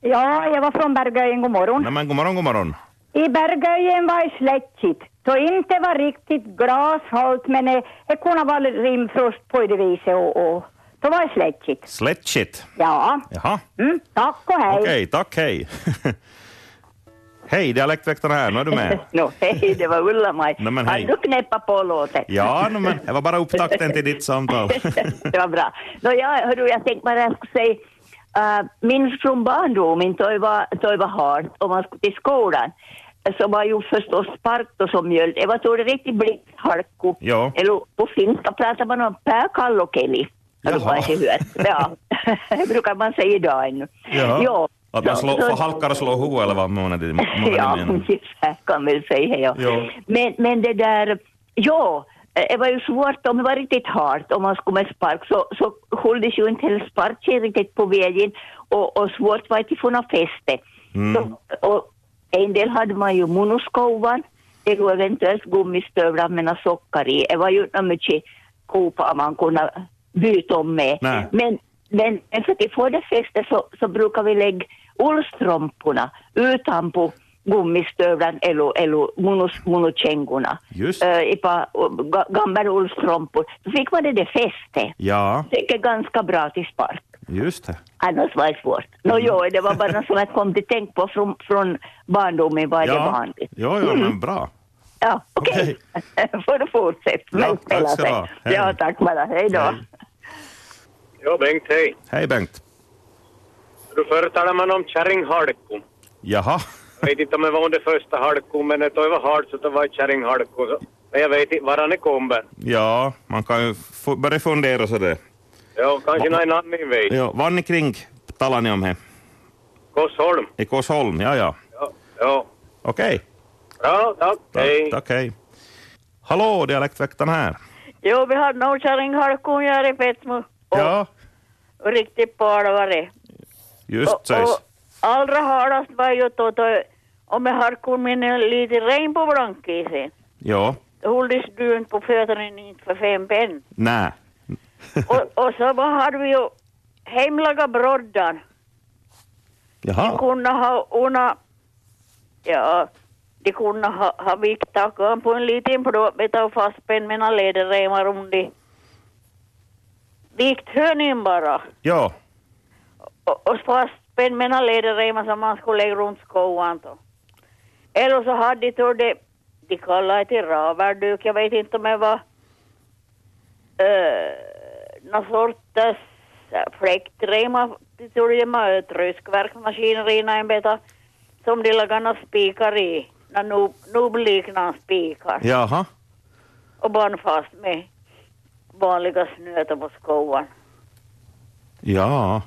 Ja, jag var från Bergöjen, god morgon. Nej men god morgon, god morgon. I Bergöjen var det släckigt. Så inte var riktigt glashalt, men eh, det kunde vara rimfrost på det viset och, och då var det släckigt. Slättshit. Ja, Jaha, mm, tack och hej. okej, tack, hej. hej, dialektväktarna här, nu är du med. No, hej, det var Ulla-Maj. Nej, men hej. Har du knäppat på låten? Ja, no, men det var bara upptakten till ditt samtal. det var bra. No, ja, hörru, jag tänkte bara jag skulle säga, äh, min från barndomen, då var, då var hårt om man skulle till skolan. Så var ju förstås spark och som mjöld. Det var så det riktigt blixthalko. Ja. Eller på finska pratar man om pääkallokeli. Har du Jaha. kanske hört? Ja, det brukar man säga idag ännu. Jo. Att man Så- slå, så- får halkar och slå hoa eller vad månaden Ja, menar. ungefär kan man säga. Ja. Ja. Men, men det där, ja, eh, det var ju svårt om det var riktigt hårt om man skulle med spark så, så hålldes ju inte heller sparken riktigt på vägen och, och svårt var det att få något fäste. Mm. Så, och en del hade man ju monoskovan eller eventuellt gummistövlar med några sockar i. Det var ju inte mycket kopa man kunde byta om med. Nej. Men, men men för att få det fäste så, så brukar vi lägga ullstrumporna utanpå gummistövlan eller, eller monos, monokängorna. Just. Eh, i pa, ga- gamla ullstrumpor. Då fick man det där fäste. Ja, Det är ganska bra till spark. just det. Annars var det svårt. Nå jo, det var bara något som jag kom till tänk på från, från barndomen var det Ja, vanligt. Mm. ja, ja men bra. Ja, okej. Får du fortsätta. Ja, Men spela tack ska du sig. ha. Hej. Ja, tack bara. Hej då. Hej. Ja, Bengt, hej. Hej Bengt. Du förr talade man om kärringhalko. Jaha, Jag vet inte om det var under första halko, men det var halt så det var kärringhalko. Så- Men jag vet inte var han kommer. ja, man kan ju fu- börja fundera sådär. Ja, kanske någon annan vet. Ja, vann ni kring talar ni om här? Korsholm. I Korsholm, ja, ja. Ja, ja. Okej, Bra, tack. Hej. tack, tack, hej. Hallå, dialektväktaren här. Jo, vi hade nog kärringhalkon här i Petsmo. Och, Ja, och riktigt på allvar det. just och, sägs. och allra halast var ju då, då om jag halkon min lite regn på blankisen. Ja, Då hålldes dun på fötterna inte för fem penn. nä. Och, och så var- hade vi ju hemlaga broddan. Jaha, Kunde ha una, ja, de kunde ha, ha vikt tackan på en liten plåtbit och fastspänd med några läderremmar om de vikt hönin bara. ja, och, och fastspänd med några läderremmar som man skulle lägga runt skoan. Då. Eller så hade de då det, de kallade det raverduk, jag vet inte om det var uh, någon sorts äh, fläktremmar, de tog det med tröskverksmaskinerierna en beta, som de lagade några spikar i, några nubbliknande spikar, jaha, och band fast med vanliga snöten på skoan. ja.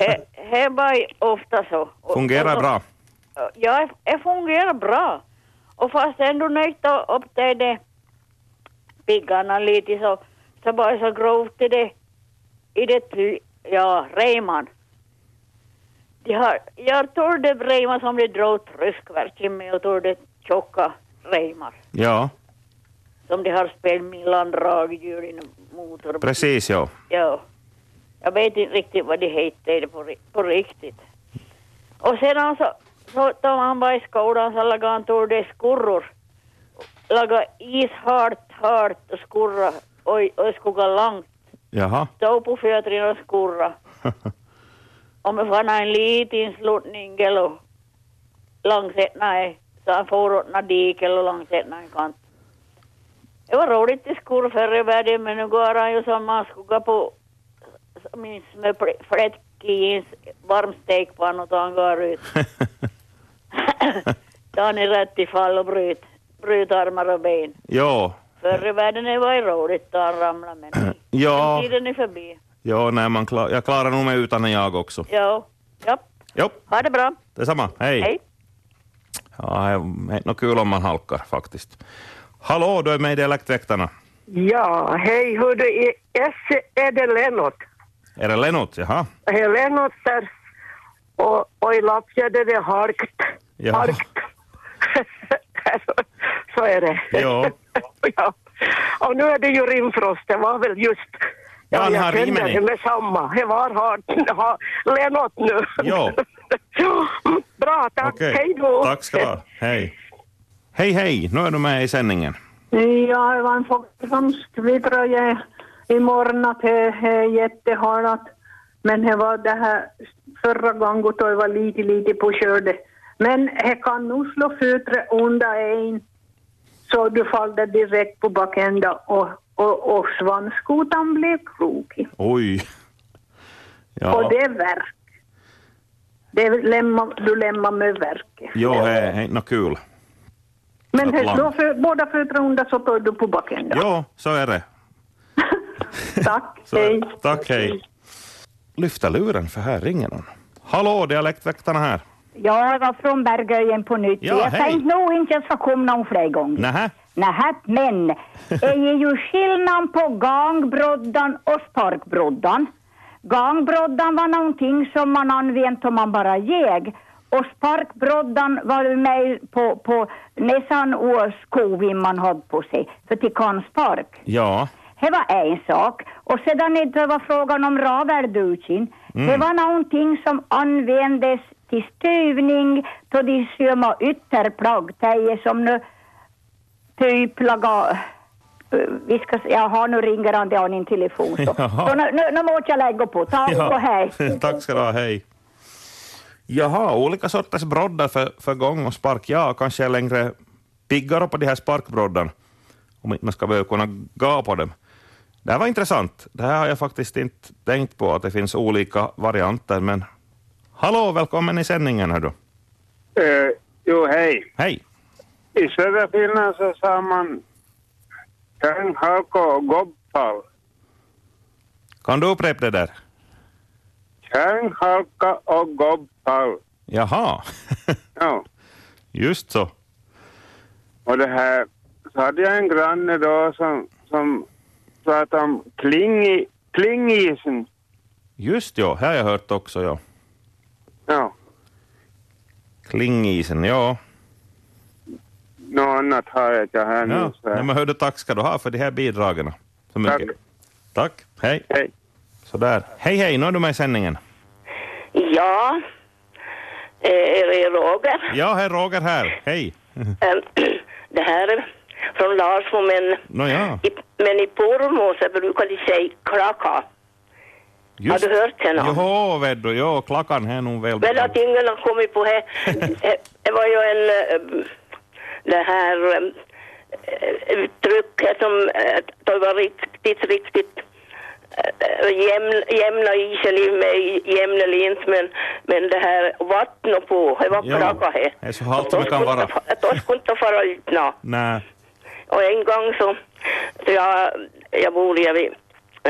He, he var ju ofta så. Och- Fungerar och- bra. Ja, det fungerar bra. Och fast ändå nöjda upp till det piggarna lite så, så var det så grovt i det, i det ty, ja, reiman. De har, jag tror det reimar som de drog tryskverken med och tror det tjocka reimar Ja, som de har spelat mellan dragdjur i motor. precis ja. Ja. Jag vet inte riktigt vad det heter på, ri- på riktigt. Och sedan så, så då han var i skolan så lagade han tog det skurror. Lagade ishalt, halt och skurra. Oj, oj, skoga långt. Jaha, Stå på fötterna och skurra. Om jag fann en liten sluttning eller långs ett- nej, så han for åt något dike eller långs ett- nej, kant. Det var roligt i skor förr i världen men nu går han ju som man skulle gå på min flätk jeans, varm stekpanna och han går ut. Då han är rätt i fall och bryt, bryt armar och ben. ja, Förr i världen det var det roligt då han ramlade men nu- ja, tiden är förbi. ja, nej, man klar, jag klarar nog mig utan en jag också. Ja, ja. Jo, ha det bra. detsamma, hej. Hej. Ja, det är nog kul om man halkar faktiskt. Hallå, du är med i Dialektväktarna. Ja, hej hördu, S är det Lennart. Är det Lennart? Jaha. Hej Lennart där. Och, och i Lappjärd är det harkt. Ja. Harkt. Så är det. Ja. ja. Och nu är det ju rimfrost, det var väl just... Ja, han har jag rimmen kände i. det med samma. Det var hart. Ha, Lennart nu. Ja. ja. bra, tack. Okej. Hej då. Tack ska du ha. Hej. Hej, hej. Nu är du med i sändningen. Ja, aivan Fogelholms kvittrade i morgon att det är jättehalat. Men det var det här förra gången då jag var lite, lite på körde. Men det kan nog slå fötter under en så du faller direkt på bakända och, och, och svanskotan blev krokig. Oj. Och Ja, det är verk. Det lämnar, du lämnar med verket. jo, det är inte något kul. Men det Atlant. slår för, båda fötter under så tar du på bakända. Jo, så är det. Tack, Så, hej. Tack, hej. Lyfta luren, för här ringer någon. Hallå, dialektväktarna här. Ja, jag var från Bergöjen på nytt. Ja, jag hej. tänkte nog inte jag ska komma någon fler gånger. Nähä? Nähä, men det är ju skillnad på gangbroddan och sparkbroddan. Gangbroddan var någonting som man använde om man bara jäg. Och sparkbroddan var ju med på, på nästan års kovin man hade på sig, för till kan spark. Ja. Det var en sak. Och sedan när det var frågan om raverdukin. Det var någonting som användes till stuvning då de sömma ytterplagg. Det är som nu typ laga... eh, Vi ska, se- jaha, nu ringer han, det har en telefon. Så, Jaha. så nu, nu, nu måste jag lägga på. Ta och gå hej. Tack ska du ha, hej. Jaha, olika sorters broddar för, för gång och spark. Ja, kanske är längre piggare på de här sparkbroddarna, om inte man ska behöva kunna gå på dem. Det här var intressant. Det här har jag faktiskt inte tänkt på, att det finns olika varianter, men hallå, välkommen i sändningen. Hördu. Eh, jo, hej. Hej. I södra Finland så sa man kärnhalko och gobbfall. Kan du upprepa det där? Kärnhalka och gobbfall. Jaha, Ja. just så. Och det här, så hade jag en granne då som, som pratade om klingi, klingisen. Just ja, här har jag hört också. Ja. Ja, Klingisen, ja. något annat har jag inte ja. här nu. Så. Nej, men hördu, tack ska du ha för de här bidragen. Så mycket. Tack. Tack, hej. Hej. Sådär. Hej, hej, nu är du med i sändningen. Ja, eh, är det Roger? Ja, herr Roger här. Hej. Ehm, Det här är från Larsmo, men, Nåja, i, men i Poromo så brukar de säga klaka. just. Har du hört henne? Jo, vet du, jo, klackan här är nog väl. Men att ingen har kommit på det. Det- Det var ju en, eh, det här eh, uttrycket som eh, det var riktigt, riktigt eh, jämn, jämna isen i mig, jämna lint, men, men det här vattnet på, det var Ja, klacka det. det är så halt som det kan vara. Då skulle inte fara ut nå. Nej, Och en gång så, så jag, jag bor ju vid,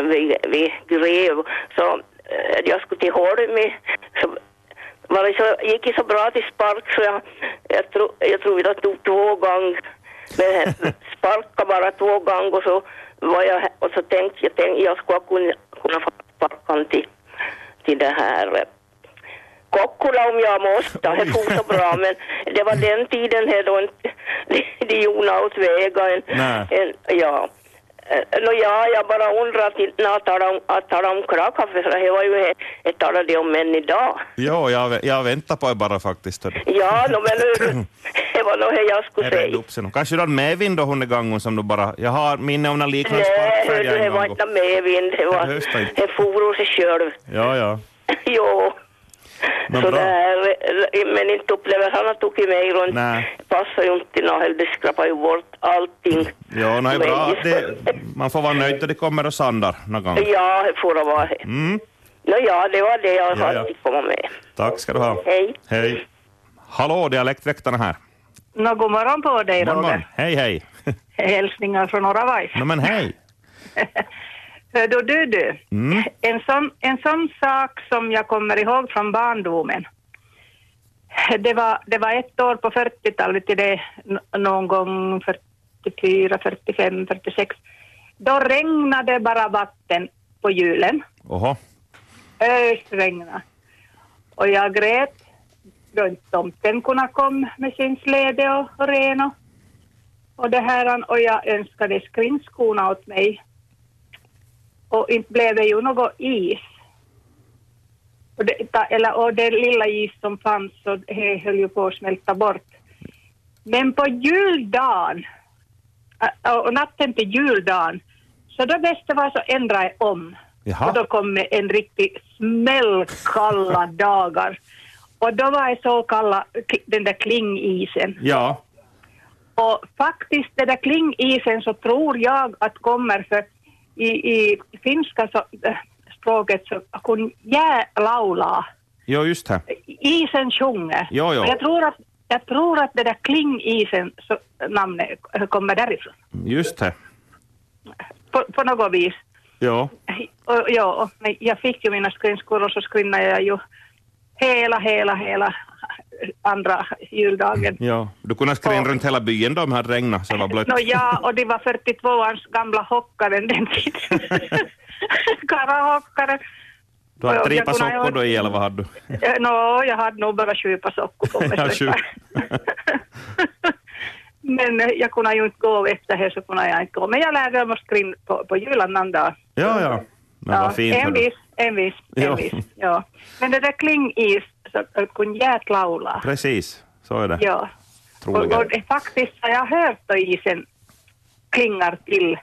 vid, vid Grev, så eh, jag skulle till Holmi, så var det så, gick det så bra till spark så jag, jag, tro, jag tror jag tog två gånger, men sparka bara två gånger och så var jag, och så tänkte jag, tänkte, jag skulle kunna, kunna få sparkan till, till det här eh, Kokkola om jag måste, det for så bra men det var den tiden här då inte de gjorde något väg och en, Nej. en ja. Eh, Nå ja, jag bara undrar att inte när jag talar om, att tala om Krakow, för det var ju det jag talade om än idag. jo, jag, vä- jag väntar på er bara faktiskt. hördu. Ja, nå men nu, det var nog det jag skulle Jag redde säga. upp sig nog. Kanske du hade medvind då hon är gången som du bara... Jag har minne om när liknande Nej, hördu, sparkfärja det en var gång. inte medvind, det var, Det höstar inte. det for åt sig själv. Ja, ja. Jo. Men så bra. det här, eh, men inte upplever han att tog i mig runt. Nej. Passar ju inte nå, det skrapar ju bort allting. Jo, no, det är Men bra. just- Det, man får vara nöjd då det kommer och sandar någon gång. Ja, det får det vara. det. Mm. Nå ja, det var det jag Ja, hade ja. att komma med. Tack ska du ha. Hej. Hej. Hallå, dialektväktarna här. No, god morgon på dig Morgon, morgon. Roger. Hej, hej. Hälsningar från Norra Vajs. No, men hej. Hör du, du, du. Mm. En, sån, en sån sak som jag kommer ihåg från barndomen. Det var, det var ett år på 40-talet, till det n- någon gång 44, 45, 46. Då regnade bara vatten på julen. Oho. ösregna. Och jag grät då inte tomten kunna kom med sin släde och, och ren och, och det här och jag önskade skridskorna åt mig. Och inte blev det ju något is. Och det, ta- eller, och det lilla is som fanns så det höll ju på att smälta bort. Men på juldagen, äh, och natten till juldagen, så då bästa var så ändra jag om. Jaha. Och då kom det en riktig smällkalla dagar. Och då var jag så kalla k- den där klingisen. Ja, Och faktiskt den där klingisen så tror jag att kommer för i, i finska så, äh, språket så kun jää laulaa, ja just det. isen sjunger. Jo, jo. Och Jag tror att, jag tror att det där klingisen så, namnet äh, kommer därifrån. Just det. På, på något vis. Ja. Och, ja, och, men jag fick ju mina skrinskor och så skrinnade jag ju hela, hela, hela andra juldagen. ja. Du kunde skrinna runt hela byn då om det hade regnat så det var blött. Nå No ja, och det var 42-ans gamla hockaren den tiden. Karahockaren. Du hade jag tripa kunde ha sockor då ihjäl, vad hade du? Eh, Nå, jag hade nog bara köpa sockor på mig. Ja, sju. Men eh, jag kunde ju inte gå efter det så kunde jag inte gå. Men jag lärde mig att skrinna på, på julannandag. Ja, ja. Men ja, vad fint. hör du. envis, envis, Ja. envis. Ja. Men det där klingis, så eh, kunde järt laulaa. Precis, så är det. Ja. Och, Troligen. och det, faktiskt har jag hört då isen klingar till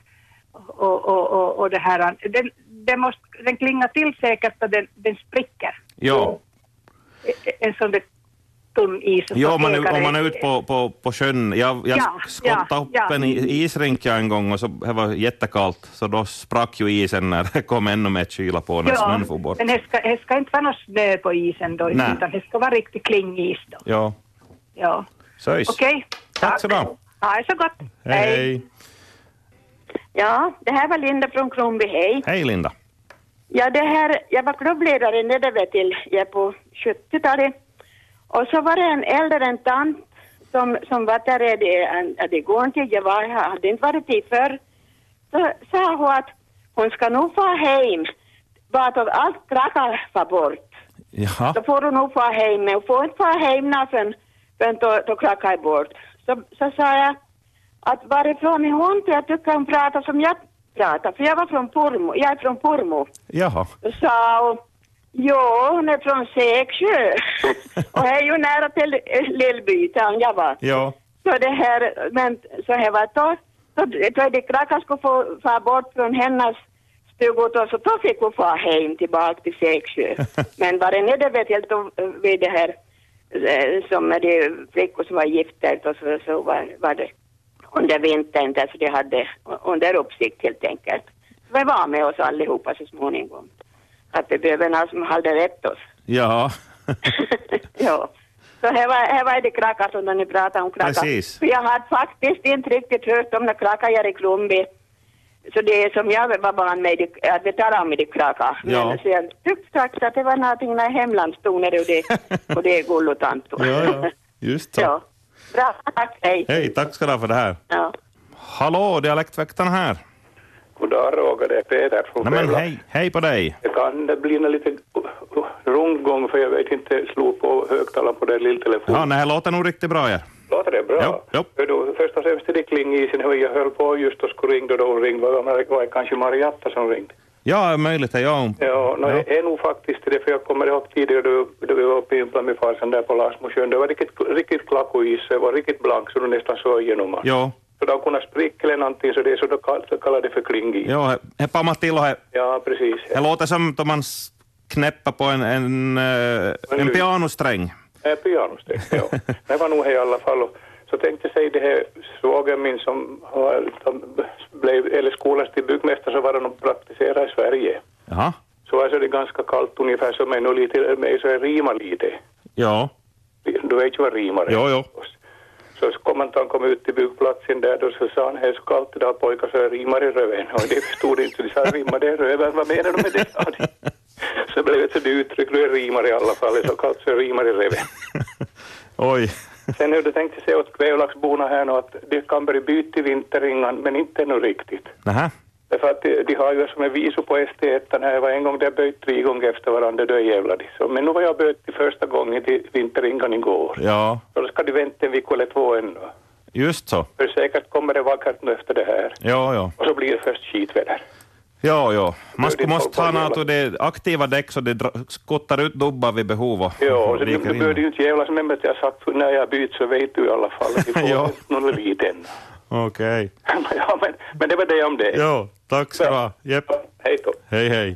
och, och, och, och det här, den, den, måste, den klingar till säkert och den, den spricker. Ja, E- En sån där tunn is. som ja om, man pekar är, om man är i- ute på, på, på sjön. Jag, jag Ja, skottade ja, upp ja. en i- isrink jag en gång och så, det var jättekallt, så då sprack ju isen när det kom ännu mer kyla på när Ja, snön for bort. men det ska, det ska inte vara någon snö på isen då, Nej. utan det ska vara riktig klingis då. Ja, Ja. söjs. Okej, Tack så bra. ha det så gott. Hej. Ja, det här var Linda från Kronby, hej. Hej Linda. Ja, det här, jag var klubbledare nere vid till, jag på 70-talet. Och så var det en äldre en tant som, som var där i det, en- det går inte, jag var, jag hade inte varit dit förr. Så sa hon att hon ska nog få hem, bara att allt krackar var bort. Jaha. Då får hon nog få hem, men hon får inte få hem när förrän, förrän då, då krackar är bort. Så, så sa jag att varifrån är hon till att du kan prata som jag pratar? För jag var från Pormo, jag är från Pormo. Jaha. Då sa hon, ja hon är från Säksjö. och det är ju nära till eh, Lillby, där jag var. Ja. Så det här, men så här var då, då, då de krackar skulle få fara bort från hennes stuga då, så då fick hon fara hem tillbaka till Säksjö. men var det nere vet jag då, eh, vid det här, eh, som är det flickor som var gifta och så, så var, var det under vintern där, så de hade under uppsikt helt enkelt. Så vi var med oss allihopa så småningom. Att det behöver någon som hade rätt oss. Ja. Ja. Så här var, här var det krackar som ni pratade om krackar. Precis. För jag hade faktiskt inte riktigt hört om när krackar gör i Klumbi. Så det som jag var van med, det- att vi talade om i de krackar. Ja. Men så jag tyckte faktiskt att det var någonting när hemlandstoner och det, och det är gullotantor. Ja, ja. Just så. ja. Bra, tack, hej. Hej, tack ska du ha för det här. Ja. Hallå, dialektväktaren här. Goddag Roger, det är Peter från Nej men Pella. hej, hej på dig. Det kan det bli en liten rundgång för jag vet inte, slå på högtalaren på den lilltelefonen. Ja, nej, det låter nog riktigt bra. Ja. Låter det bra? Jo, jo. Hör du, först och främst är det klingisen, hur jag höll på just och skulle ringa då hon ringde, var det var det kanske Marietta som ringde? Ja, möjligt är jag. Ja, no, det är nog faktiskt det, för jag kommer ihåg tidigare då, då vi var uppe i Uppland med farsan där på Larsmosjön, det var riktigt, riktigt klakois, det var riktigt blank så du nästan såg igenom den. Jo, Så det har kunnat spricka eller någonting, så det är så de kall- så kallar det för klingis. jo, he- he pammat till och he, Ja, precis. he låter som om man s- knäpper på en, en, eh, en pianosträng. Nej, pianosteg, ja. Det var nog det i alla fall. Och Så tänkte sig det här svågen min som äh, har- som blev, eller skolas till byggmästare så var han och praktiserade i Sverige. Jaha, Så alltså det är ganska kallt ungefär som mig, och lite, mig så jag rimar lite. ja, Du vet ju vad rimar är. jo, jo. Så kom han, han kom ut till byggplatsen där då så sa han, det är så kallt idag pojkar så jag rimmar i röven. Och det förstod inte, de sa rimmar i röven, vad menar de med det? sa de. Så blev det ett uttryck, du är rimar i alla fall, det är så kallt så jag rimmar i röven. Oj, Sen hur du tänkte säga åt Kvävlaxborna här nu att de kan börja byta till vinterringan, men inte ännu riktigt. nähä, Därför att de, de har ju som en viso på ST1 här, var en gång där böjt tre gånger efter varandra, då jävlar de. Så, Men nu var jag böjt till första gången till vinterringan igår. ja, Så då ska de vänta en vecka eller två ännu. just så. För säkert kommer det vackert nu efter det här. Ja, ja, Och så blir det först skitväder. Ja, ja. Man Det skulle är måste ha bara något och det är aktiva däck så det dra- skottar ut dubbar vid behov och Ja, och sen, viker du in. behöver ju inte jävlas med mig att jag har sagt när jag byter så vet du i alla fall att du får Ja. någon liten. Okej. ja, men, men det var det om det. Ja, tack ska du ha. Jepp. Hej då. Hej, hej.